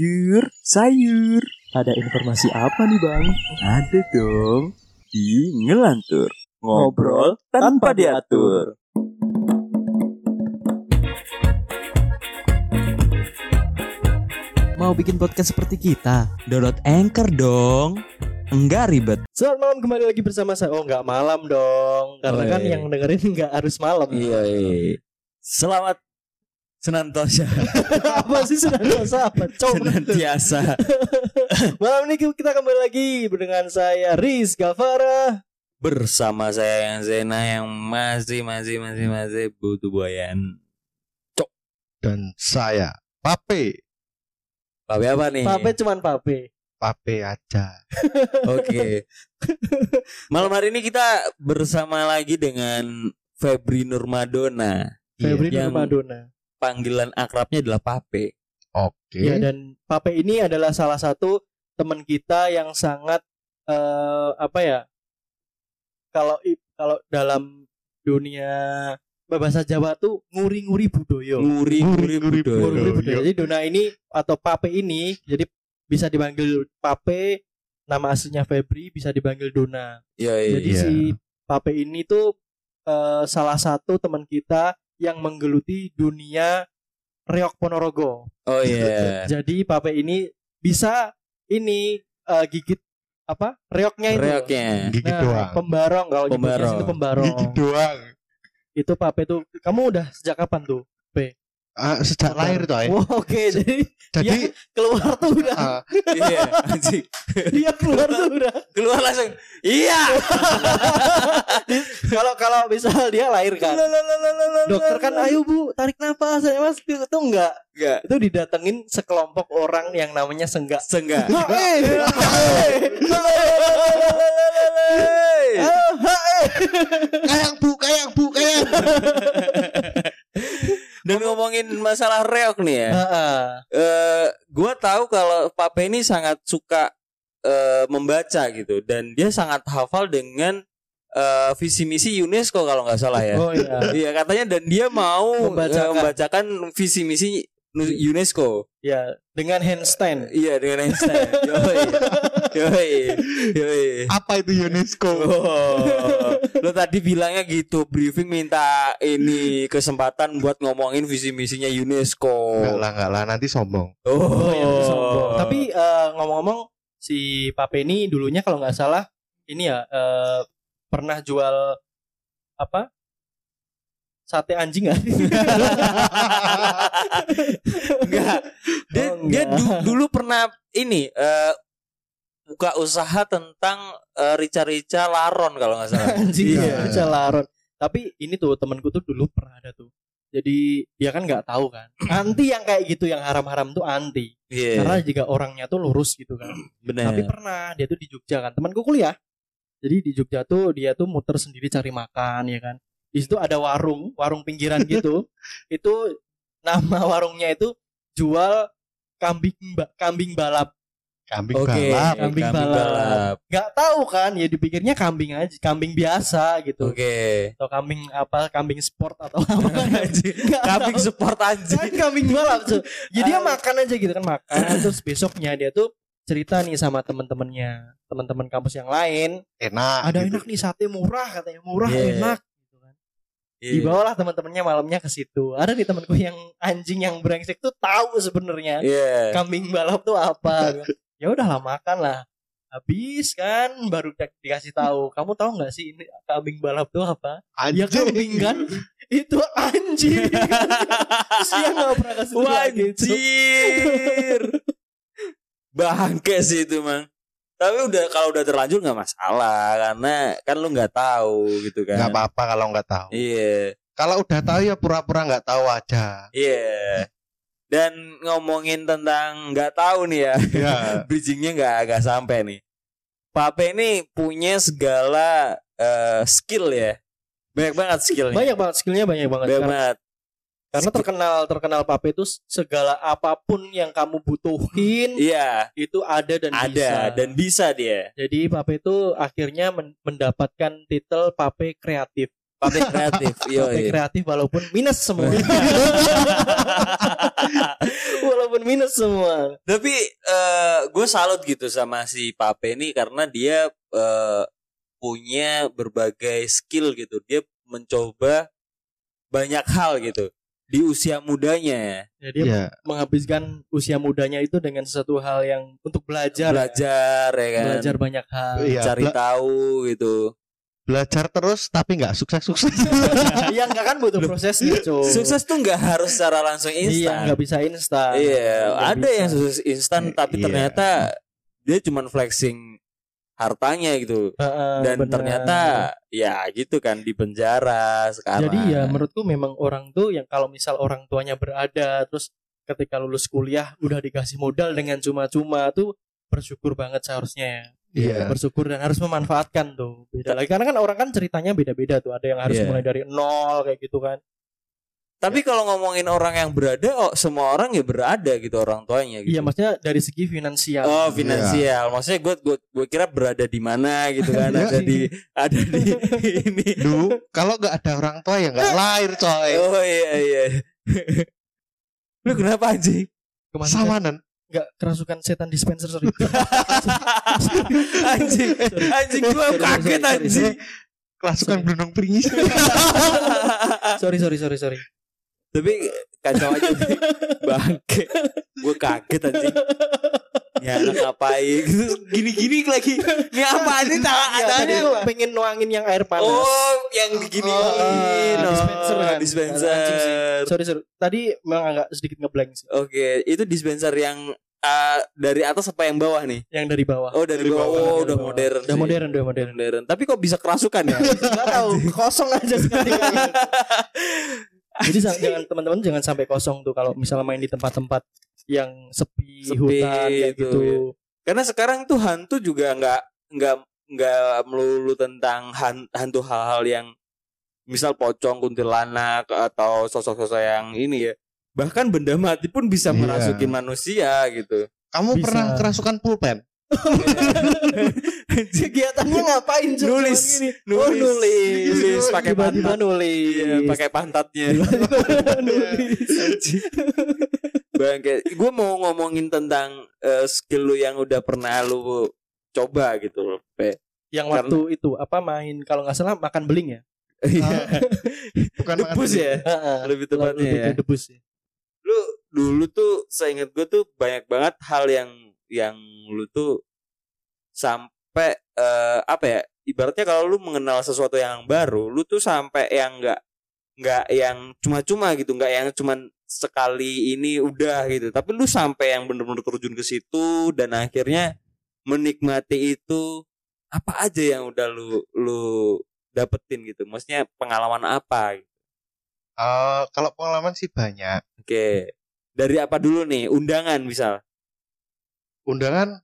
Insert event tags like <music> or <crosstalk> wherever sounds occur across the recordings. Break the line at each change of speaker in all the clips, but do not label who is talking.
Yur, sayur. Ada informasi apa nih bang?
Ada dong di Ngelantur. Ngobrol tanpa diatur.
Mau bikin podcast seperti kita? Download Anchor dong. Enggak ribet.
Selamat malam kembali lagi bersama saya. Oh nggak malam dong, karena
Oh,
kan
iya.
Oi.
yang dengerin nggak harus malam.
Iya, Selamat senantosa,
<laughs> apa sih sudah dosa apa? Coba
<laughs> senantiasa.
malam ini kita kembali lagi dengan saya Riz Gavara.
Bersama saya yang Zena yang masih masih masih masih butuh buayan.
dan saya Pape
Papi apa
Iya.
nih?
Pape cuman Pape.
Pape aja
Oke. Malam hari ini kita bersama lagi dengan Febri Nurmadona.
Iya,
Iya.
Febri
Yang-
Nurmadona.
Panggilan akrabnya adalah Pape.
oke
Iya.
Ya dan Pape ini adalah salah satu teman kita yang sangat eh, apa ya? Kalau i- kalau dalam dunia bahasa Jawa tuh nguri-nguri budoyo.
Nguri-nguri
Nguri-nguri
budaya.
budaya.
Nguri-nguri
Yo,
budaya.
yo.
Jadi Dona ini atau Pape ini jadi bisa dipanggil Pape nama aslinya Febri bisa dipanggil Dona.
Iya, iya.
Jadi
iya.
si Pape ini tuh eh, salah satu teman kita yang menggeluti dunia Reok Ponorogo.
Oh iya.
Jadi Pape ini bisa ini eh, gigit apa? Reoknya itu.
Reoknya.
gigit
Nah,
doang
pembarong kalau di podcast
Pembarong.
itu pembarong.
gigit doang
Itu Pape tuh. Kamu udah sejak kapan tuh?
Ah, sejak lahir tuh ay.
Wah, Oke, jadi
jadi
keluar tuh udah.
ah,
Iya, anjing.
Dia keluar tuh udah.
Keluar langsung. Iya.
kalau kalau misal dia lahir kan dokter kan ayo bu tarik nafas saya mas itu itu enggak
Enggak.
itu didatengin sekelompok orang yang namanya senggak
Senggak.
Ha, <laughs> eh. Ah, ha, eh.
kayang bu kayang bu kayang
Dan ngomongin masalah reok nih ya.
Ah, ah.
Eh, gua tahu kalau Pape ini sangat suka eh, membaca gitu dan dia sangat hafal dengan eh, visi misi UNESCO kalau nggak salah ya.
oh iya
Iya katanya dan dia mau eh, membacakan,
Membacakan.
visi misi UNESCO.
ya dengan handstand
Iya dengan
<laughs>
Einstein. Yoi. Yoi. Yoi.
apa itu UNESCO
Oh, lo tadi bilangnya gitu briefing minta ini kesempatan buat ngomongin visi misinya UNESCO.
enggak lah enggak lah nanti sombong
Oh,
Oh, iya, itu sombong. tapi eh, ngomong-ngomong si Pape ini dulunya kalau nggak salah ini ya eh, pernah jual apa sate anjing nggak?
<laughs> enggak. Dia,
Oh,
dia
enggak.
du- dulu pernah ini eh, buka usaha tentang eh, rica-rica laron kalau nggak salah.
anjing
Iya.
ya bisa larut tapi ini tuh temanku tuh dulu pernah ada tuh jadi dia kan nggak tahu kan anti yang kayak gitu yang haram-haram tuh anti
Iya.
karena juga orangnya tuh lurus gitu kan
benar.
tapi pernah dia tuh di Jogja kan temanku kuliah jadi di Jogja tuh dia tuh muter sendiri cari makan ya kan di situ ada warung warung pinggiran gitu itu nama warungnya itu jual kambing ba- kambing balap
kambing
Oke,
balap
kambing
kambing
balap.
balap.
nggak tahu kan ya dipikirnya kambing aja kambing biasa gitu
Oke.
atau kambing apa kambing sport <laughs> atau apa Nggak
kambing
tahu.
support
kan
anjing.
kambing balap tuh ya dia
Ah.
makan aja gitu kan makan terus besoknya dia tuh cerita nih sama temen-temennya teman-teman kampus yang lain Ah,
enak
ada
gitu.
enak Ya, nih sate murah katanya murah
Iya.
enak gitu kan
Iya.
dibawalah teman-temannya malamnya ke situ ada di temanku yang anjing yang brengsek tuh tahu sebenarnya
Iya.
kambing balap tuh apa ya udahlah makan lah habis kan baru di- dikasih tahu kamu tahu nggak sih ini kambing balap tuh apa
Anjing.
ya kambing kan <laughs> itu anjing Terus dia nggak pernah kasih gitu. tahu lagi itu.
Wajir. Bangke sih itu mang. Tapi udah kalau udah terlanjur nggak masalah karena kan lu nggak tahu gitu kan.
nggak apa-apa kalau nggak tahu
Iya,
kalau udah tahu ya pura-pura nggak tahu aja
iya. Dan ngomongin tentang nggak tahu nih ya,
Iya.
ya
bridgingnya nggak agak sampai nih. Pape ini punya segala eh, skill ya, banyak banget skillnya.
banyak banget skillnya banyak banget
Banyak
Karena-
banget.
Karena terkenal terkenal Pape itu segala apapun yang kamu butuhin
Iya,
itu ada dan bisa.
ada dan bisa dia.
Jadi Pape itu akhirnya men- mendapatkan titel Pape kreatif.
Public kreatif.
<laughs>
Yo,
Sampai kreatif walaupun minus semua. <laughs> walaupun minus semua.
Tapi gue salut gitu sama si Pape ini karena dia eh, punya berbagai skill gitu. Dia mencoba banyak hal gitu di usia mudanya ya.
Ya, dia
Iya.
menghabiskan usia mudanya itu dengan sesuatu hal yang untuk belajar.
belajar ya kan.
Belajar banyak hal.
Iya,
cari
bela-
tahu gitu.
belajar terus tapi nggak
<laughs>
sukses-sukses.
<laughs> Iya enggak kan butuh
<laughs>
prosesnya, Cuk.
Sukses tuh nggak harus secara langsung
Iya,
instan.
nggak bisa instan.
Iya,
Nggak
ada
bisa.
yang sukses instan
Eh,
tapi
iya.
ternyata dia cuman flexing hartanya gitu.
Heeh,
Dan
bener.
ternyata ya gitu kan di penjara sekarang.
Jadi ya menurutku memang orang tuh yang kalau misal orang tuanya berada terus ketika lulus kuliah udah dikasih modal dengan cuma-cuma tuh bersyukur banget seharusnya ya.
Iya.
Bersyukur dan harus memanfaatkan tuh. Beda lagi karena kan orang kan ceritanya beda-beda tuh. Ada yang harus
Iya.
mulai dari nol kayak gitu kan.
Tapi kalau ngomongin orang yang berada, oh, semua orang ya berada gitu orang tuanya gitu.
Iya, maksudnya dari segi finansial.
Oh
Iya.
finansial, maksudnya gue gue gue kira berada di mana gitu kan
Iya.
ada di ada di ini.
Duh, kalau nggak ada orang tua
<laughs>
ya nggak lahir coy.
Oh iya iya. Lu kenapa anjing?
Kemarin kan
Samanan.
nggak kerasukan setan dispenser
<laughs>
sorry.
anjing, anjing gua
Sorry, sorry,
kaget
sorry,
anjing.
Kelasukan berunung peringis.
Sorry sorry sorry sorry.
Tapi kacau aja sih. bangke. Gua kaget anjing. Ya anak ngapain? Gini-gini lagi. Ini apa anjing? Tangan
Iya, tadi
tangannya apa?
pengen nuangin yang air panas.
Oh, yang digini.
Oh, dispenser kan. Anjing sih.
Dispenser.
Sorry sorry. Tadi memang agak sedikit ngeblank sih.
Oke, itu dispenser yang ah, dari atas apa yang bawah nih?
Yang dari bawah.
Oh, dari, bawah.
bawah,
Oh,
dari
udah
bawah.
modern.
Udah
sih.
modern, udah modern.
Modern. Tapi kok bisa kerasukan
<laughs>
ya?
Gak tahu, kosong aja sekali. Jadi sa- jangan teman-teman jangan sampai kosong tuh kalau misalnya main di tempat-tempat yang sepi,
Sepi
hutan kayak
itu,
gitu.
ya. Karena sekarang tuh hantu juga nggak nggak nggak melulu tentang han- hantu hal-hal yang misal pocong kuntilanak atau sosok-sosok yang ini ya. Bahkan benda mati pun bisa
Iya.
merasuki manusia gitu.
<laughs> Kamu
Bisa.
pernah kerasukan
<laughs>
pulpen?
Kegiatannya ngapain Cuk?
Nulis.
Cuman gini.
nulis, nulis,
Oh, nulis.
pakai
Tiba-tiba
pantat.
nulis.
Iya, pakai Iya. pantatnya.
Tiba-tiba nulis.
<laughs> Bangke, gue mau ngomongin tentang eh, skill lu yang udah pernah lu coba gitu loh, Pe.
Yang waktu itu apa main kalau nggak salah makan beling ya?
<laughs>
Ah, Bukan makan
Debus
beling.
ya?
Heeh.
Lebih tepatnya
Lebih
ya.
ke debus ya.
lu dulu tuh seingat gue tuh banyak banget hal yang yang lu tuh sampai eh, apa ya ibaratnya kalau lu mengenal sesuatu yang baru lu tuh sampai yang enggak nggak yang cuma-cuma gitu nggak yang cuman sekali ini udah gitu tapi lu sampai yang bener-bener terjun ke situ dan akhirnya menikmati itu apa aja yang udah lu lu dapetin gitu maksudnya pengalaman apa gitu.
Eh, kalau pengalaman sih banyak.
oke dari apa dulu nih undangan misal
Undangan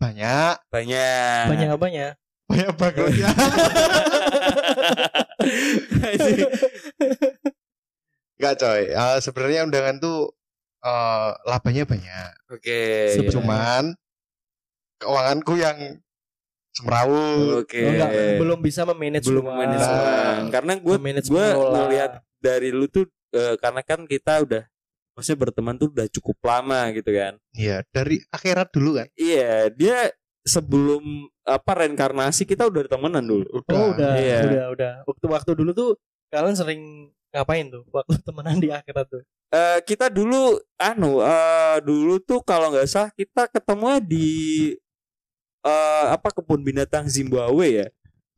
banyak. <laughs>
banyak
Banyak apanya? <laughs>
Banyak banget ya. Enggak coy. Eh, Sebenarnya undangan tuh eh, labanya banyak.
oke
Sebenarnya.
Cuman keuanganku yang semrawut.
oke
Oh, nggak, belum bisa memanage
belum
uang.
manage uang. karena gue
Memanage
gue
mengelola.
ngeliat dari lu tuh eh, karena kan kita udah maksudnya berteman tuh udah cukup lama gitu kan
Iya, dari akhirat dulu kan.
iya dia sebelum apa reinkarnasi kita udah temenan dulu
Udah.
Oh udah,
Iya.
udah, udah. Waktu-waktu dulu tuh kalian sering ngapain tuh? Waktu <laughs> temenan di akhirat tuh. <laughs>
Eh kita dulu anu eh dulu tuh kalau nggak salah kita ketemu di eh apa kebun binatang Zimbabwe ya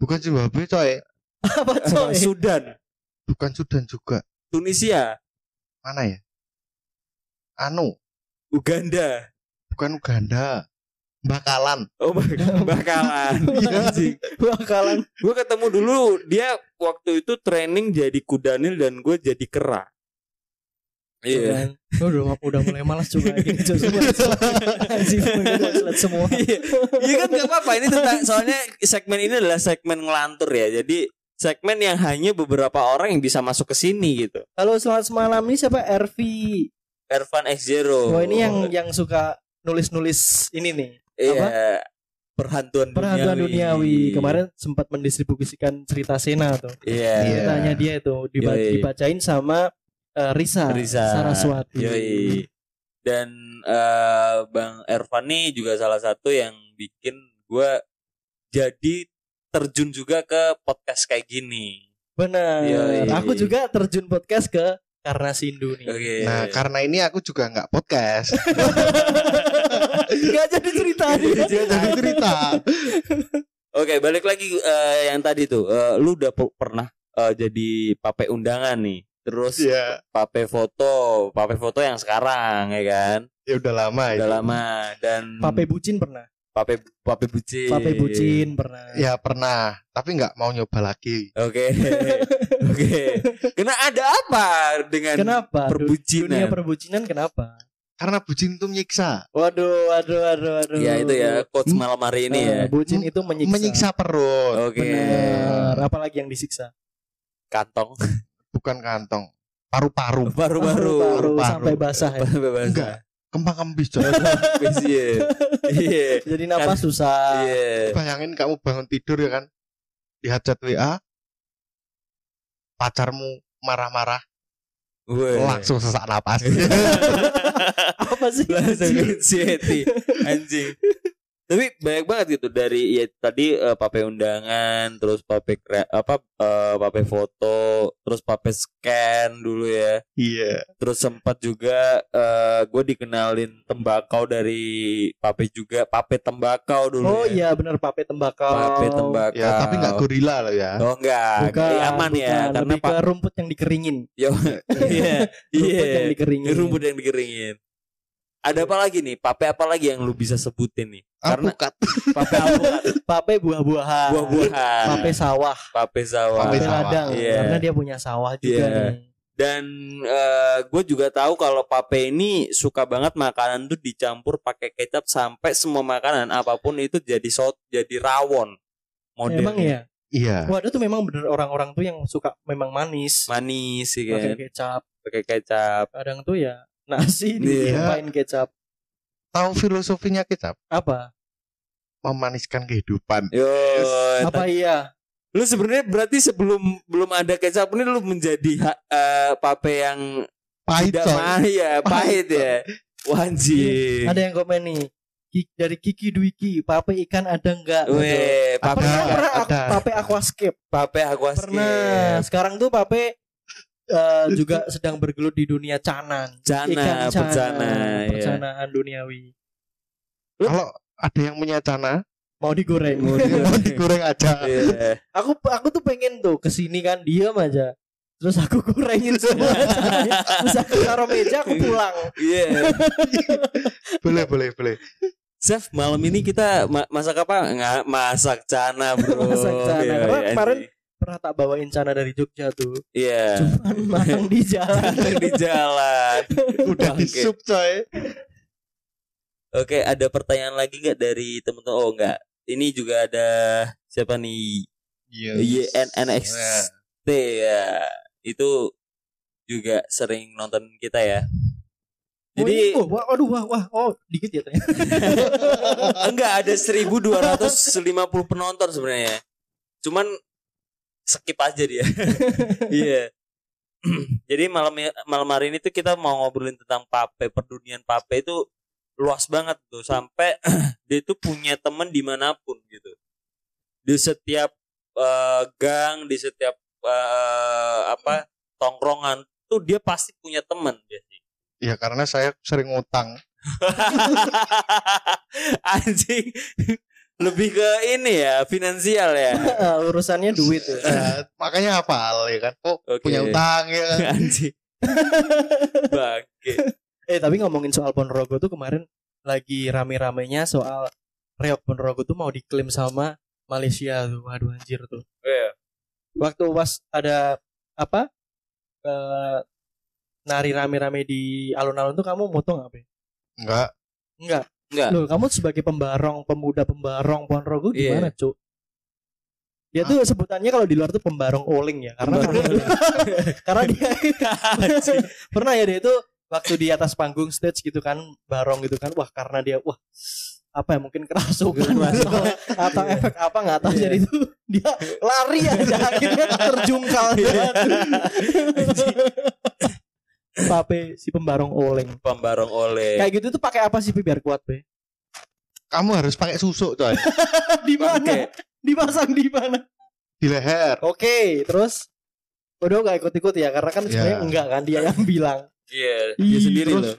Bukan Zimbabwe coy.
Apa
Eh,
coy?
Sudan
Bukan Sudan juga.
Tunisia
Mana ya? Anu,
Uganda
bukan Uganda. Bakalan.
Oh
<laughs>
my God, bakalan anjing.
Bakalan
Gue ketemu dulu dia waktu itu training jadi kudanil dan gue jadi kera. Iya.
Kan? Gua udah, udah mulai
<laughs>
malas juga gini coy. Semua- Anjing, gua udah selet semua.
Iya Iya kan gak apa-apa ini tentang soalnya segmen ini adalah segmen ngelantur ya. Jadi segmen yang hanya beberapa orang yang bisa masuk ke sini gitu.
Halo selamat semalam ini siapa RV?
Ervan X Zero. Oh.
Oh, Wah ini yang yang suka nulis-nulis ini nih.
iya. perhantuan,
Perhantuan
duniawi.
duniawi. Kemarin sempat mendistribusikan cerita Sena tuh.
Iya.
Iya.
Ceritanya dia itu diba-
Yoi.
dibacain sama eh, Risa,
Risa.
Saraswati.
Iya.
Yoi. Dan eh, Bang Ervan nih juga salah satu yang bikin gua jadi terjun juga ke podcast kayak gini.
Benar.
Yoi.
Aku juga terjun podcast ke karena Sindu nih.
Oke.
Nah,
<laughs>
karena ini aku juga nggak podcast.
Gak jadi cerita.
<laughs>
Dia jadi cerita.
Oke, balik lagi eh, yang tadi tuh. Eh, lu udah pe- pernah eh, jadi pape undangan nih. Terus
Iya,
pape foto, pape foto yang sekarang ya kan.
ya udah lama
Udah
itu.
lama dan
Pape Bucin pernah.
pape pape bucin.
Pape Bucin pernah.
Iya,
Ya pernah, tapi nggak mau nyoba lagi.
Oke. <laughs> Oke. Karena ada apa dengan
Kenapa? Du-
kan perbucinan?
Dunia perbucinan kenapa?
Karena bucin itu menyiksa.
Waduh, waduh, waduh, waduh.
Ya itu ya coach
Hmm.
malam hari ini ya.
Eh, Bucin itu menyiksa.
Menyiksa perut,
Oke.
Benar. Apalagi yang disiksa.
Kantong <laughs>
bukan kantong. Paru-paru,
baru-baru
Paru-paru.
sampai basah ya.
bebas.
Enggak. kembang-kembis. coy.
Bebas, Iya. Iya.
Jadi napas susah.
Iya.
Bayangin kamu bangun tidur ya kan. Lihat chat WA. Pacarmu marah-marah,
Weh.
langsung sesak napas.
Iya.
Apa sih?
langsung anxiety anjing. Tapi banyak banget gitu dari ya tadi eh, pape undangan, terus pape kre- apa eh, pape foto, terus pape scan dulu ya.
<laughs> Iya.
Terus sempat juga gue dikenalin tembakau dari Pape juga, Pape tembakau dulu.
Oh
ya.
iya benar Pape Tembakau.
Pape tembakau.
Ya, tapi nggak gorila loh ya.
Oh enggak,
Bukan,
Jadi aman ya
bukan.
karena
Lebih
Pak
ke rumput yang dikeringin.
Yo, <laughs> Iya.
<laughs> Rumput yang
Iya.
dikeringin.
Rumput yang dikeringin. Ada apa lagi nih? Pape apa lagi yang lu bisa sebutin nih? Karena-
Alpukat.
Pape alpukat,
<laughs> Pape buah-buahan.
buah-buahan,
Ah, Pape sawah,
Pape sawah.
Pape
pape
sawah.
ladang
Iya.
karena dia punya sawah juga
Iya.
nih.
Dan gue juga tahu kalau Pape ini suka banget makanan tuh dicampur pakai kecap sampai semua makanan apapun itu jadi sot, jadi rawon. Modelnya
Emang ya.
Iya.
Waduh tuh memang bener orang-orang tuh yang suka memang manis.
manis sih
Pakai
kan,
kecap.
pakai kecap.
Kadang tuh ya nasi
Iya.
dipain kecap.
Tahu filosofinya kecap?
Apa?
Memaniskan kehidupan.
Yo,
Apa iya?
lu sebenarnya berarti sebelum belum ada kecap ini lu menjadi ha- eh, Pape yang
Pahit
tidak
coy.
ma- ya, pahit ya. Wanji.
Iya, Ada yang komen nih. Ki- Dari Kiki Dwiki, Pape ikan ada enggak?
Weh, Pape,
pernah,
Ada,
pernah aku,
ada.
Pape aquascape.
Pape aku
Pernah. Sekarang tuh Pape <laughs> eh, juga sedang bergelut di dunia canan. Iya kan?
Jana,
canan,
bencana, ya.
percanaan duniawi.
Kalau ada yang punya cana,
Mau digoreng.
Mau digoreng.
mau digoreng aja.
Iya.
aku aku tuh pengen tuh kesini kan diam aja. Terus aku <laughs>
<laughs>
gorengin semua. caranya. Terus aku taruh meja aku pulang.
Iya.
Boleh, boleh, boleh.
Chef, malam ini kita ma- masak apa? Nggak, masak cana, bro.
<laughs> Masak cana.
Iya,
Karena
iya,
kemarin
anjing.
Pernah tak bawain cana dari Jogja tuh.
iya.
Cuman matang di jalan.
Cana di jalan.
Udah
Bangke.
di sup coy.
Oke, ada pertanyaan lagi nggak dari teman-teman? Oh, nggak. Ini juga ada siapa nih? Iya, YNNXT
Iya.
ya. Itu juga sering nonton kita ya. <laughs> Jadi
oh, wah, aduh, wah, wah, oh, dikit
<laughs>
ya ternyata.
enggak ada 1250 penonton sebenarnya. Cuman skip aja dia. Iya. Jadi malam malam hari ini tuh kita mau ngobrolin tentang pape, perdunian pape itu luas banget tuh sampai <clears throat> dia tuh punya temen dimanapun gitu. Di setiap eh, gang, di setiap eh, apa tongkrongan tuh dia pasti punya temen dia.
Ya karena saya sering ngutang.
<laughs> anjing lebih ke ini ya finansial ya
Eh, urusannya duit
Eh,
tuh.
Ya, makanya hafal ya kan. Oh,
Oke.
punya utang ya kan.
<laughs> anjing bangke
Eh tapi ngomongin soal Ponorogo tuh kemarin lagi rame-ramenya soal Reok Ponorogo tuh mau diklaim sama Malaysia tuh. Waduh anjir tuh. Waktu was ada apa? eh nari rame-rame di alun-alun tuh kamu motong apa? ya?
Enggak.
Enggak.
Enggak.
Loh, kamu sebagai pembarong, pemuda pembarong Ponorogo
Iya.
gimana, Cuk? Dia tuh sebutannya kalau di luar tuh pembarong oling ya, karena <laughs> karena dia
Anjing.
pernah ya dia itu waktu di atas panggung stage gitu kan barong gitu kan wah karena dia wah apa ya mungkin kerasukan atau, atau efek apa nggak tahu jadi itu dia lari aja akhirnya terjungkal jalan. Pape si pembarong oleng
Pembarong oleh
kayak gitu tuh pakai apa sih Pi, biar kuat Pe?
Kamu harus pakai susuk coy.
di mana? Dipasang di mana?
Di leher.
Oke, terus udah gak ikut-ikut ya karena kan sebenarnya
Ya.
enggak kan dia yang bilang.
Iya,
Ih,
dia sendiri
terus-
loh.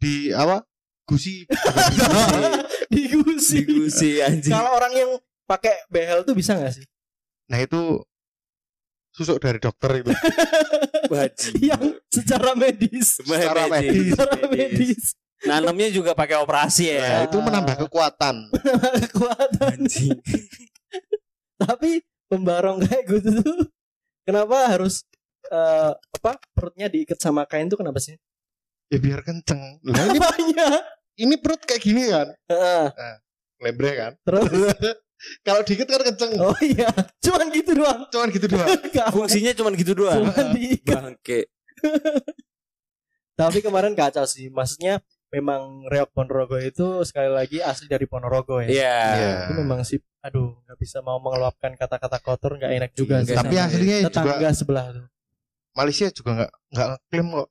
Di apa? Gusi.
<laughs> Digusi.
Digusi anjing.
Kalau orang yang pakai behel tuh bisa gak sih?
Nah itu susuk dari dokter itu.
Wajib.
Yang secara medis.
Secara medis.
Secara medis. Iya.
Nanamnya juga pakai operasi ya.
Nah, itu menambah kekuatan.
Kekuatan.
Anjing.
Tapi pembarong kayak gitu tuh kenapa harus eh, apa perutnya diikat sama kain tuh kenapa sih?
Ya biar kenceng. Nah, ini,
Apanya?
ini perut kayak gini kan.
Heeh,
Lebre
<laughs>
kan.
terus
Kalau dikit kan kenceng.
oh iya, cuman gitu doang.
Cuman gitu doang.
Gak apa,
Fungsinya cuma gitu doang.
cuman diikat.
Bangke.
Tapi kemarin kacau sih. Maksudnya memang Reok Ponorogo itu sekali lagi asli dari Ponorogo ya.
Iya.
Iya.
Itu memang sih aduh nggak bisa mau mengeluapkan kata-kata kotor nggak enak juga sih.
Iya, Nggak
Tapi
sama
aslinya juga
tetangga sebelah tuh.
Malaysia juga nggak nggak klaim kok.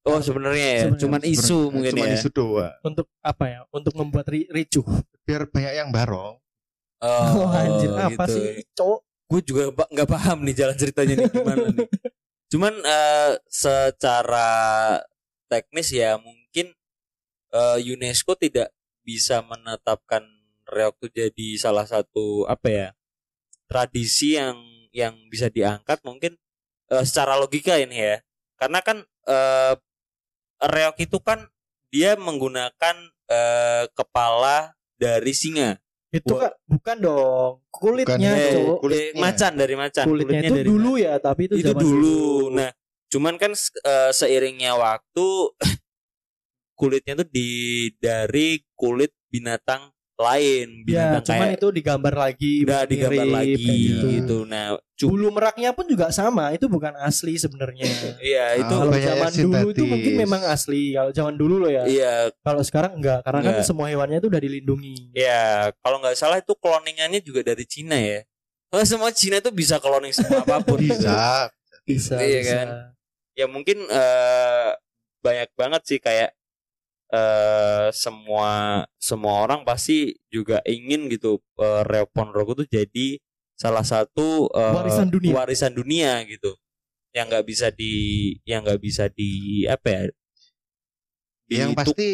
Oh, sebenarnya ya.
Sebenarnya.
Cuman isu mungkin
Cuma
ya.
isu doang.
Untuk apa ya? Untuk membuat ri ricuh.
Biar banyak yang
<laughs>
barong.
<laughs> Oh, anjir apa
gitu.
sih cowok?
Gue juga ba- nggak paham nih jalan ceritanya nih gimana nih. Cuman eh, secara teknis ya mungkin eh, UNESCO tidak bisa menetapkan reok itu jadi salah satu apa ya tradisi yang yang bisa diangkat mungkin eh, secara logika ini ya karena kan eh, reok itu kan dia menggunakan eh, kepala dari singa
Itu
Wah.
kan bukan dong. Iya, Kulitnya
Bukan,
Eh,
cowok.
eh,
kulitnya.
macan dari macan
Kulitnya itu dulu ya, tapi itu,
itu,
zaman
dulu. Nah, cuman kan se- eh, seiringnya waktu <laughs> kulitnya tuh di dari kulit binatang lain,
Ya,
binatang
cuman
kayak
itu digambar lagi,
udah
mirip,
digambar lagi
kayak
gitu.
gitu.
Nah, cu-
Bulu meraknya pun juga sama, itu bukan asli
<laughs>
sebenarnya.
iya itu
Ah.
Kalau
Banyak
zaman
yang
dulu itu
sintetis.
mungkin memang asli. Kalau zaman dulu loh ya.
iya
Kalau sekarang enggak, karena kan
Enggak.
semua hewannya itu udah dilindungi.
iya kalau nggak salah itu cloningannya juga dari Cina ya. Karena semua Cina tuh bisa cloning
<laughs>
semua apapun. gitu.
Bisa.
Bisa,
Iya
bisa.
kan? ya mungkin eh, banyak banget sih kayak eh semua semua orang pasti juga ingin gitu eh, Reok Ponorogo tuh jadi salah satu eh,
Warisan dunia.
warisan dunia gitu yang nggak bisa di yang nggak bisa di apa ya
Yang
dihitung.
pasti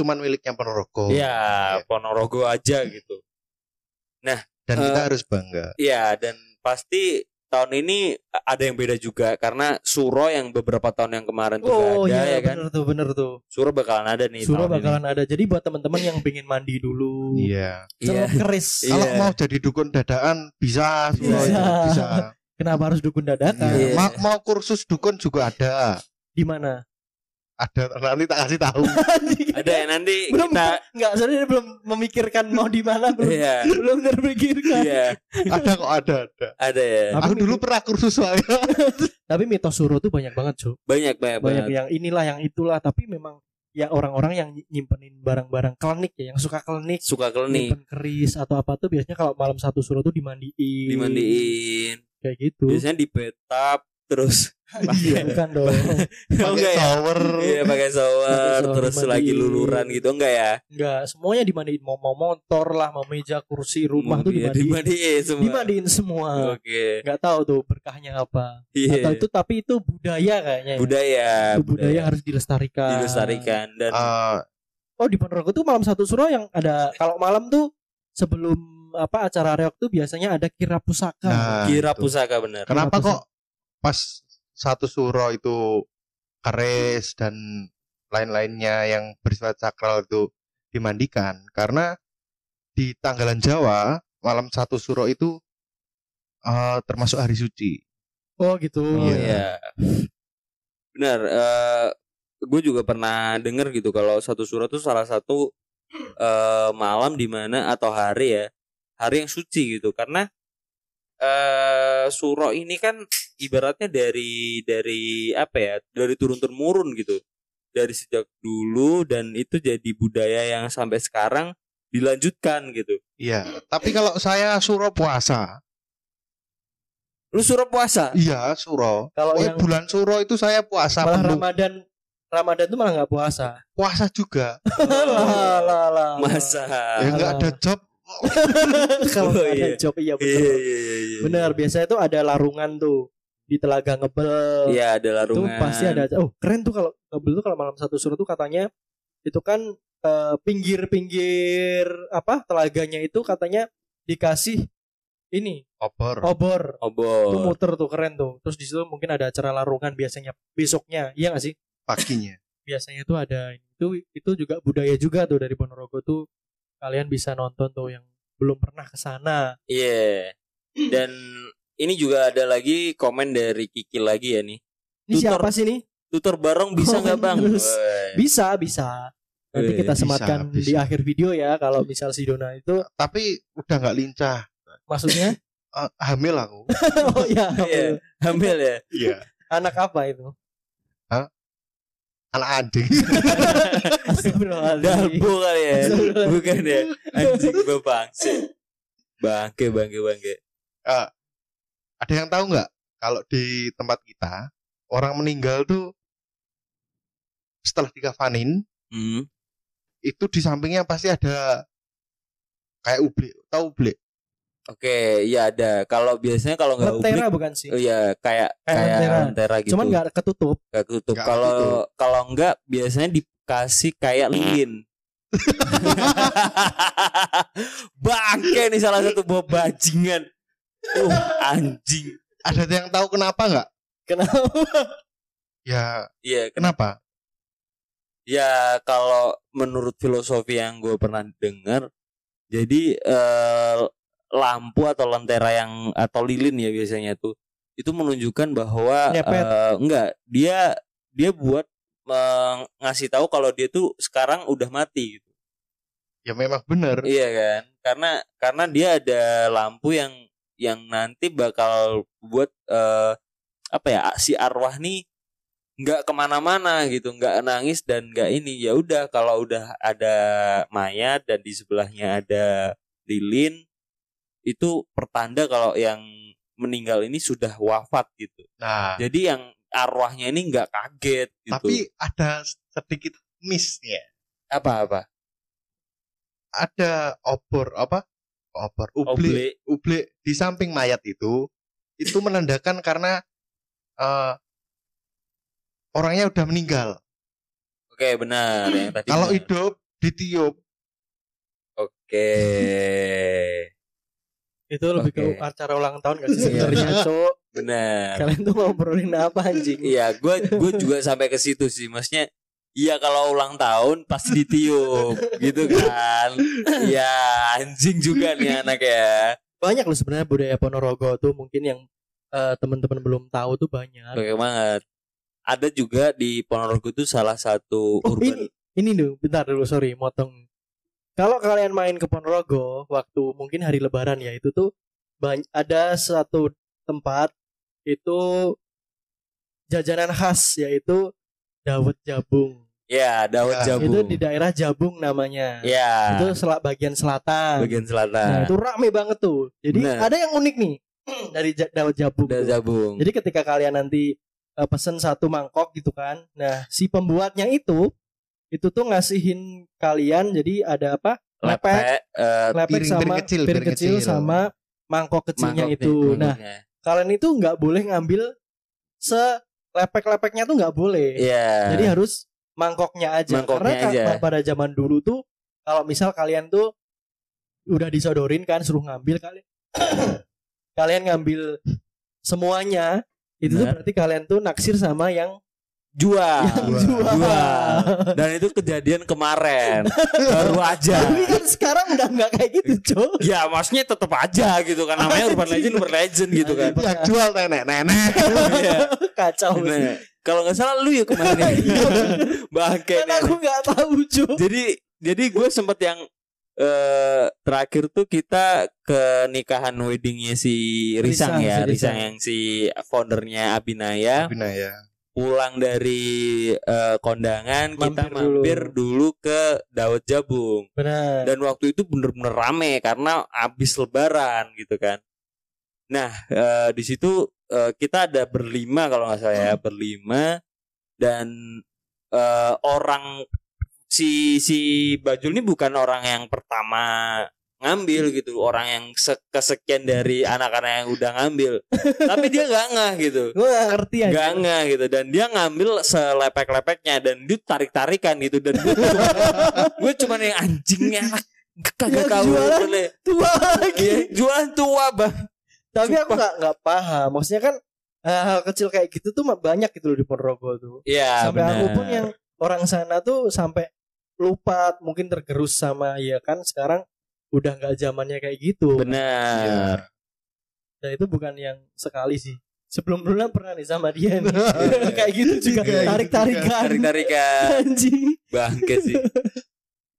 cuman miliknya Ponorogo.
ya Ponorogo aja gitu
Dan kita
Eh,
harus bangga.
ya dan pasti tahun ini ada yang beda juga karena Suro yang beberapa tahun yang kemarin tuh nggak
Oh
ada
iya
ya kan
bener tuh bener tuh
Suro bakalan ada nih tahun
Suruh
ini.
bakalan ada Jadi buat teman-teman yang pengen mandi dulu
Iya.
Iya.
Jangan keris
Iya.
Kalau mau jadi dukun dadaan bisa, Bro.
Bisa.
bisa.
Kenapa harus dukun
Iya.
dadakan
Iya.
Mau, mau kursus dukun juga ada.
Di mana?
<laughs>
Ada nanti tak kasih tahu.
ada ya nanti
Belum
kita
Enggak sorry dia belum memikirkan Mau di mana Belum
Iya,
belum terpikirkan
iya,
ada kok ada ada.
ada ya.
Tapi
Aku dulu
mikir-
pernah kursus soalnya.
Tapi mitos suruh tuh banyak banget cuy
Banyak banyak banyak.
Banyak yang inilah yang itulah Tapi memang Ya orang-orang yang nyimpenin barang-barang klinik ya Yang suka klinik
Suka klinik
nyimpen keris atau apa tuh biasanya kalau malam satu suruh tuh dimandiin
dimandiin.
kayak gitu <laughs> ya,
Biasanya di bathtub terus <laughs> pakai
bukan dong
oh,
Pakai
enggak ya?
shower.
Iya, pakai shower
Pakai shower,
terus
dimandiin.
lagi luluran gitu enggak ya?
enggak semuanya dimandiin mau mau motor lah mau meja kursi rumah tuh
Iya,
dimandiin
dimandiin semua.
dimandiin semua
Oke.
nggak tahu tuh berkahnya apa
Iya.
atau itu tapi itu budaya kayaknya ya.
budaya,
Itu budaya Ah. harus dilestarikan
dilestarikan dan
Eh,
oh di Ponorogo tuh malam satu suruh yang ada kalau malam tuh sebelum apa acara reok tuh biasanya ada kira pusaka
nah,
kira
itu.
pusaka bener.
Kenapa
Kenapa
kok pas satu suro itu keris dan lain-lainnya yang bersifat sakral itu dimandikan? Karena di tanggalan Jawa malam satu suro itu eh, termasuk hari suci.
oh gitu
Oh,
Iya.
iya. Benar. eh gue juga pernah denger gitu kalau satu surat tuh salah satu eh malam di mana atau hari ya hari yang suci gitu karena eh suro ini kan ibaratnya dari dari apa ya dari turun temurun gitu dari sejak dulu dan itu jadi budaya yang sampai sekarang dilanjutkan gitu.
Iya, tapi kalau saya suro puasa,
Lu suruh puasa.
iya suro.
Kalau
Pokoknya
yang
bulan suro itu saya puasa
malah
penuh.
Ramadan Ramadan tuh malah nggak puasa.
puasa juga.
lah lah lah.
Masa.
Iya. Ah.
Ya nggak ada job.
<laughs> Kalau nggak
Oh,
ada
iya.
job
Iya
iya betul.
iya iya. iya.
Benar, biasanya tuh ada larungan tuh di telaga ngebel.
Iya ada
itu
larungan.
pasti ada oh keren tuh kalau ngebel tuh kalau malam satu suruh tuh katanya itu kan eh, pinggir-pinggir apa telaganya itu katanya dikasih ini Oh.
Obor.
obor itu
obor.
muter tuh keren tuh terus di situ mungkin ada acara larungan biasanya besoknya iya gak sih
paginya.
biasanya tuh ada itu itu juga budaya juga tuh dari Ponorogo tuh kalian bisa nonton tuh yang belum pernah ke sana
Iya. Dan ini juga ada lagi komen dari Kiki lagi ya nih.
ini
Tutor.
siapa sih nih
Tutor bareng bisa nggak bang?
Terus.
Woy.
bisa bisa Oh, nanti
Wih,
kita
bisa,
sematkan di
bisa.
akhir video ya kalau misal si Dona itu
Tapi udah nggak lincah.
maksudnya <laughs>
Eh, hamil aku.
oh iya,
Iya.
hamil.
Hamil ya.
Iya.
Anak
<laughs>
apa itu?
Anak anjing.
Astagfirullahaladzim.
Dalbo kali
<laughs>
ya. Bukan ya. Anjing gue bangke. Bangke bangke bangke.
Ada yang tahu nggak? Kalau di tempat kita orang meninggal tuh setelah dikafanin
Hmm.
itu di sampingnya pasti ada kayak ublik. Tahu ublik?
Oke, ya ada. Kalau biasanya kalau nggak
Lentera
ublik,
bukan sih?
oh ya kayak
Kayak
kayak
lentera.
lentera, gitu.
Cuman nggak ketutup.
Nggak ketutup.
Nggak
Kalau
ketutup.
kalau nggak biasanya dikasih kayak lilin. Bangke nih salah satu buah bajingan. Uh, anjing.
Ada yang tahu kenapa nggak?
Kenapa?
Ya
Iya, ken-
kenapa?
ya kalau menurut filosofi yang gue pernah dengar, jadi eh, lampu atau lentera yang atau lilin ya biasanya tuh itu menunjukkan bahwa
Nyepet.
eh, enggak dia dia buat meng- ngasih tahu kalau dia tuh sekarang udah mati gitu.
ya memang benar
Iya kan? Karena karena dia ada lampu yang yang nanti bakal buat eh, apa ya si arwah nih nggak kemana-mana gitu, nggak nangis dan nggak ini. Ya udah kalau udah ada mayat dan di sebelahnya ada lilin itu pertanda kalau yang meninggal ini sudah wafat gitu.
nah
Jadi yang arwahnya ini nggak kaget gitu.
tapi ada sedikit missnya
apa-apa?
ada obor apa obor ublik
Oblek.
ublik di samping mayat itu itu menandakan karena eh, orangnya udah meninggal
Oke, benar yang
Iya.
tadi.
kalau
benar.
hidup
<laughs>
ditiup
Oke.
Itu lebih
Oke.
ke acara ulang tahun gak
Iya.
sih <laughs> sebenarnya, Cok?
Benar.
Kalian tuh mau ngobrolin apa anjing?
Iya, gue gue juga sampai ke situ sih, maksudnya. Iya kalau ulang tahun pasti ditiup gitu kan. Iya anjing juga nih anak ya.
Banyak loh sebenarnya budaya Ponorogo tuh mungkin yang eh, teman-teman belum tahu tuh banyak.
Oke banget. Ada juga di Ponorogo itu salah satu
Oh,
urban.
ini ini dulu, bentar dulu sorry, motong. Kalau kalian main ke Ponorogo waktu mungkin hari Lebaran ya itu tuh bany- ada satu tempat itu jajanan khas yaitu dawet jabung.
Ya Dawet
Ya.
Jabung.
Itu di daerah Jabung namanya.
Ya.
Itu sel- bagian selatan.
bagian
Nah,
selatan.
itu rame banget tuh. Jadi
Benar.
ada yang unik nih <clears throat> dari ja- dawet jabung.
Dawet
tuh.
Jabung.
Jadi ketika kalian nanti eh, pesen satu mangkok gitu kan. Nah, si pembuatnya itu itu tuh ngasihin kalian jadi ada apa? lepek,
Lepek eh,
lepek
piring-
sama
piring kecil, piring
kecil
kecil.
sama mangkok kecilnya
mangkoknya,
itu. Nah,
mangkoknya.
kalian itu nggak boleh ngambil selepek-lepeknya tuh nggak boleh.
Iya.
Jadi harus Eh, mangkoknya aja.
Mangkoknya
Karena
aja.
kan pada zaman dulu tuh kalau misal kalian tuh udah disodorin kan suruh ngambil kalian <coughs> kalian ngambil semuanya itu tuh
Benar.
berarti kalian tuh naksir sama yang <laughs>
jual.
yang jual.
Jual.
Jual. Dan itu kejadian kemarin. Baru aja.
<laughs> Tapi kan sekarang udah nggak kayak gitu, Cok.
Ya maksudnya tetap aja gitu kan namanya urban legend urban legend gitu kan.
Iya.
yang jual nenek nenek
Iya.
Kacau.
Nah, kalau nggak salah lu ya kemarin
<laughs>
ya. Bangke <laughs>
Kan
nih.
aku nggak tahu, Cok.
Jadi jadi gue sempet yang eh terakhir tuh kita ke nikahan weddingnya si Risang, ya,
Risang, si
Risang
Risang.
yang si foundernya Abinaya.
Bina ya
pulang dari eh, kondangan kita
Mampir dulu.
mampir dulu ke Dawet Jabung
benar
dan waktu itu bener-bener rame karena abis lebaran gitu kan nah eh, di situ eh, kita ada berlima kalau nggak salah ya berlima dan eh, orang si si Bajul ini bukan orang yang pertama ngambil gitu orang yang se- kesekian dari anak-anak yang udah ngambil tapi dia nggak ngeh gitu
gue gak ngerti aja
nggak ngeh gitu dan dia ngambil selepek-lepeknya dan dia tarik-tarikan gitu dan gue
<laughs>
cuma gue cuman yang anjingnya enak kagak
Yang
tahu
Iya, jualan
boleh.
tua
Iya, jualan tua bang
tapi aku
Sumpah.
nggak nggak paham maksudnya kan eh, hal kecil kayak gitu tuh mah banyak gitu loh di Ponorogo tuh
Ah,
ya
sampai aku pun yang orang sana tuh sampai lupa mungkin tergerus sama ya kan sekarang udah nggak zamannya kayak gitu
benar
dan itu bukan yang sekali sih sebelum dulu pernah nih sama dia
<laughs>
nih. kayak gitu juga
Iya, gitu
tarik tarikan
tarik-tarikan
<laughs>
anjing
bangke sih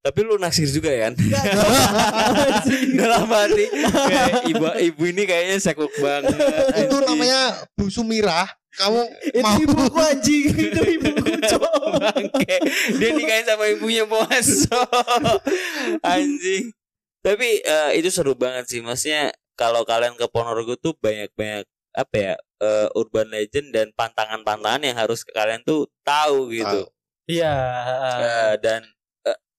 tapi lu naksir juga ya kan? <laughs> dalam hati kayak ibu ibu ini kayaknya sekuk banget
itu
anjing.
namanya Bu Sumirah. Kamu
itu
mau
ibuku anjing itu
<laughs>
ibuku cowok
Bangke. Dia nikahin sama ibunya bos. <laughs> Anjing. Tapi eh, itu seru banget sih maksudnya kalau kalian ke Ponorogo tuh banyak-banyak apa ya eh, urban legend dan pantangan-pantangan yang harus kalian tuh tahu gitu.
iya
Eh, dan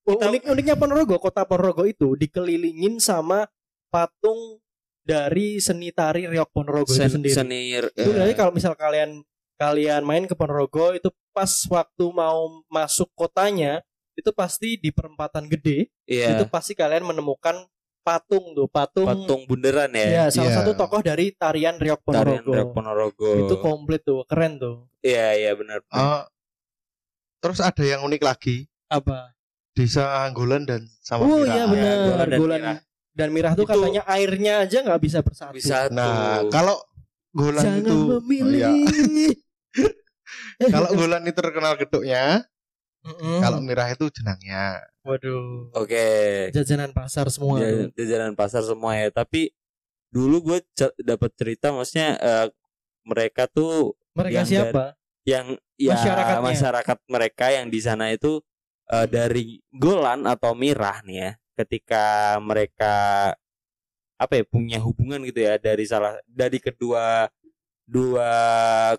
Oh,
Kita-
unik uniknya Ponorogo, kota Ponorogo itu dikelilingin sama patung dari seni tari Riok Ponorogo
sen-
itu sendiri.
senir eh,
Itu dari kalau misal kalian kalian main ke Ponorogo itu pas waktu mau masuk kotanya itu pasti di perempatan gede
iya,
itu pasti kalian menemukan patung tuh patung,
patung bundaran ya.
ya salah
Iya.
satu tokoh dari tarian Riok
Tarian
Ponorogo.
Drag Ponorogo.
Itu Ah. komplit tuh, keren tuh.
Iya, iya benar.
Eh, terus ada yang unik lagi,
Apa?
Desa Anggolan dan sama
Oh
Mirah.
iya
Golan
benar,
dan
Golan
Mirah.
dan Mirah tuh
Itu-
katanya airnya aja nggak bisa bersatu.
Bisa
Nah, kalau Golan
Jangan
itu
memilih.
Oh, iya.
<laughs>
kalau Golan itu terkenal geduknya,
Mm-mm.
kalau Mirah itu jenangnya.
waduh.
Oke.
Jajanan pasar semua.
Ja-
tuh.
Iya, jajanan pasar semua ya tapi dulu gue dapat cerita maksudnya eh, mereka tuh
Mereka
yang
siapa?
yang ya
Masyarakatnya.
masyarakat mereka yang di sana itu eh, dari Golan atau Mirah nih ya ketika mereka apa ya punya hubungan gitu ya dari salah dari kedua dua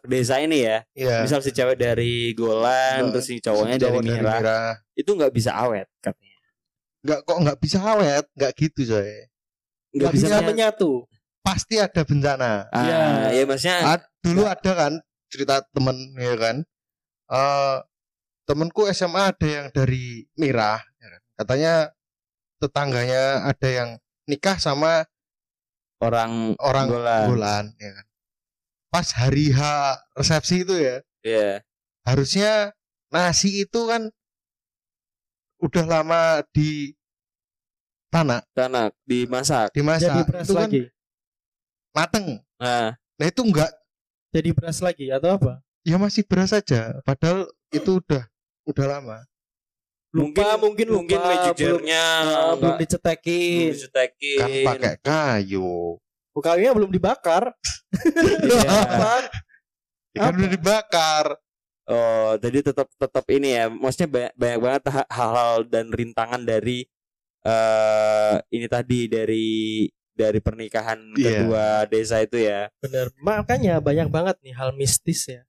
desa ini ya
Iya.
misal si cewek dari Golan
Golan.
terus si cowoknya
Cowok
dari Mirah itu nggak bisa awet katanya
Nggak kok nggak bisa awet, nggak gitu coy.
nggak
Nggak
bisa
bisa
nyatu.
menyatu.
Pasti ada bencana.
ah,
Ya.
ya maksudnya
Ah, dulu ada kan cerita temen ya kan Eh temenku SMA ada yang dari Mirah ya kan. katanya tetangganya ada yang nikah sama
orang
orang
Golan.
Golan, ya kan pas hari H resepsi itu ya
ya
harusnya nasi itu kan udah lama di tanah
tanak dimasak.
Jadi
dimasak
beras
itu kan
lagi.
mateng
Nah,
nah itu enggak
Jadi beras lagi atau apa?
ya masih beras saja padahal itu udah udah lama
Lupa, mungkin lupa,
mungkin magic jarnya
Ah, belum
enggak- belum
dicetekin.
dicetekin.
kan
<laughs>
pakai kayu
Bukannya belum dibakar.
Iya.
<laughs> Apa?
Ya kan
Apa?
udah dibakar.
Oh, jadi tetap tetap ini ya. Maksudnya banyak, banyak banget ha- hal-hal dan rintangan dari eh ini tadi dari dari pernikahan
Iya.
kedua desa itu ya.
Bener. Makanya banyak banget nih hal mistis ya.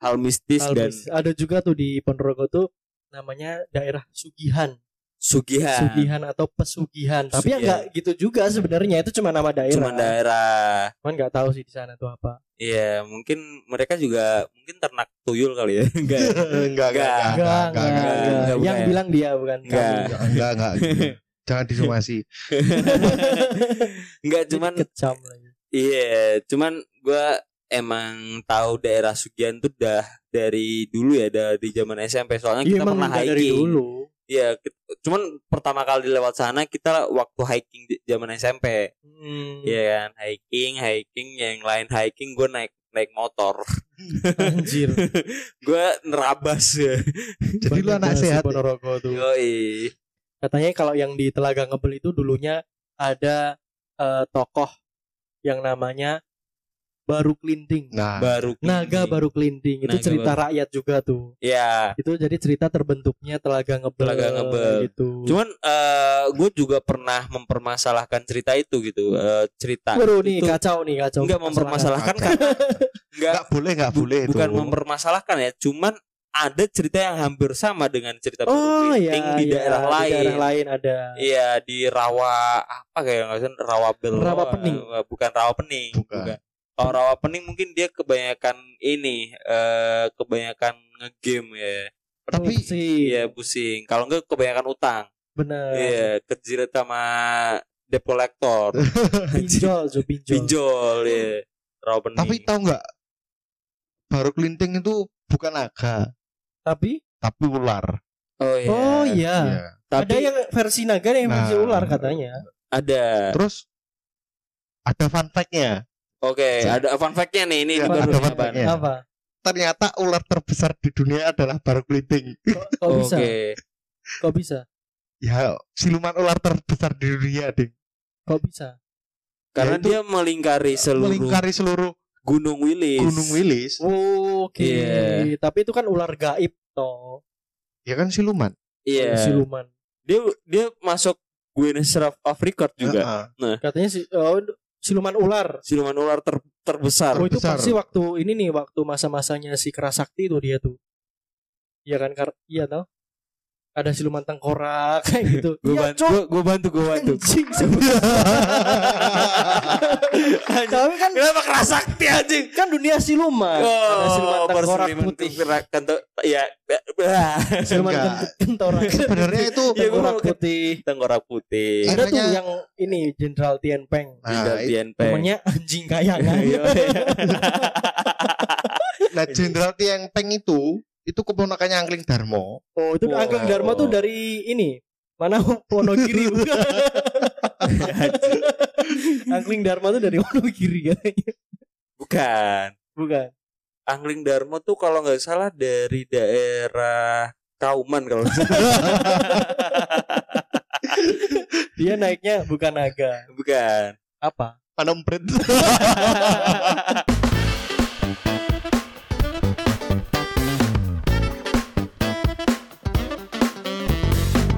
Hal mistis
Hal
dan
mistis. Ada juga tuh di Ponorogo tuh namanya daerah Sugihan.
sugihan.
Sugihan atau Pesugihan. Tapi ya
Pesugihan.
nggak gitu juga sebenarnya itu cuma nama daerah.
Cuma daerah.
Cuman nggak tahu sih di sana tuh apa.
Iya, mungkin mereka juga mungkin ternak tuyul kali ya. <laughs> Enggak. ya?
enggak, enggak,
Enggak,
Enggak,
enggak, enggak,
enggak,
enggak,
enggak.
bukan
Yang
ya?
bilang dia bukan
Enggak.
kami.
<laughs> enggak, enggak, enggak, enggak. Jangan disomasi.
Enggak
Jadi
cuman
kecam lagi.
Iya, cuman gua emang tahu daerah Sugian tuh dah dari dulu ya dari zaman SMP soalnya
Iya,
kita
emang
pernah
udah
hiking.
dari dulu.
Iya, ki- cuman pertama kali lewat sana kita waktu hiking di- zaman SMP.
Hmm.
Iya kan, hiking, hiking, yang lain hiking gue naik naik motor.
<laughs>
<laughs>
Anjir.
Gua nerabas <laughs> ya.
Jadi lu
Banyak
anak
banget sih
sehat. ya?
Ponorogo tuh.
Iya. Yoi.
Katanya kalau yang di Telaga Ngebel itu dulunya ada eh, tokoh yang namanya baru kelinting.
Nah,
baru
Ah. Naga
Klinting.
baru kelinting itu
Naga
cerita rakyat juga tuh.
ya
Itu jadi cerita terbentuknya telaga ngebel.
Telaga Ngebel.
gitu.
cuman gue juga pernah mempermasalahkan cerita itu gitu Eh, cerita
Waduh, nih
itu
kacau nih kacau.
nggak mempermasalahkan karena nggak
nggak boleh nggak
bu-
boleh itu.
bukan mempermasalahkan ya cuman ada cerita yang hampir sama dengan cerita
Oh
Burger
iya,
King di
iya,
daerah lain
Di daerah lain ada.
iya di rawa apa kayak nggak usah rawa bel eh,
Rawa Pening.
bukan rawa pening
Bukan.
kalau rawa pening mungkin dia kebanyakan ini eh kebanyakan ngegame ya
Tapi
Tuh, sih.
iya pusing kalau enggak kebanyakan utang
Bener.
iya kejirat sama debt collector
<laughs> Pinjol, Jo, pinjol.
pinjol ya rawa pening
tapi tahu nggak baru kelinting itu bukan naga
Tapi
tapi ular.
oh iya
Oh iya.
Iya.
tapi
ada yang versi naga ada yang versi
Nah.
ular katanya.
ada
Terus ada fun fact-nya.
Oke,
Saya-
ada fun fact-nya nih ini
Iya,
baru
ada
nih,
fun
Ban.
fact-nya. Iya.
Apa?
Ternyata ular terbesar di dunia adalah baru kelinting.
Kok, kok
Oke.
Oh, bisa? Kok bisa?
Ya, siluman ular terbesar di dunia, Ding.
Kok bisa?
Karena
Yaitu
dia melingkari seluruh
melingkari seluruh
Gunung Wilis.
Gunung Wilis.
Oke.
Iya.
Tapi itu kan ular gaib toh.
Ya kan siluman.
Iya.
Siluman.
Dia dia masuk Guinness World of Record juga.
Heeh.
Katanya si oh, siluman ular.
Siluman ular ter- terbesar.
Oh itu
Besar.
pasti waktu ini nih waktu masa-masanya si Kerasakti tuh dia tuh. Iya kan Kar? Iya toh. Ada siluman tengkorak <laughs> kayak gitu.
<laughs> Gue
Iya,
bantu, gue bantu, gue bantu. <laughs>
Anjing, sebut.
Anjing, Oh,
Tapi kan
Kenapa kerasakti anjing?
kan dunia siluman. ada siluman tengkorak putih.
Kento, ya,
Siluman
Enggak.
kent- kentorak.
Sebenarnya itu
Iya, gua
tengkorak
mau-
putih.
tengkorak putih.
Ada tuh
Akhirnya-
yang ini Jenderal Tian Peng.
Nah,
Jenderal
itu-
Tian Peng.
Temennya anjing kan? kayangan.
<laughs> Iya, iya.
nah Jenderal Tiang Peng itu itu keponakannya Angling Darmo.
Oh, itu
Wow.
Angklung Dharma tuh dari ini. Mana
<laughs>
Wonogiri bukan? Angkling Dharma tuh dari Wonogiri katanya.
Bukan.
Bukan.
Angling Darmo tuh kalau nggak salah dari daerah Kauman kalau nggak salah.
Dia naiknya bukan naga.
bukan.
Apa?
Panompret.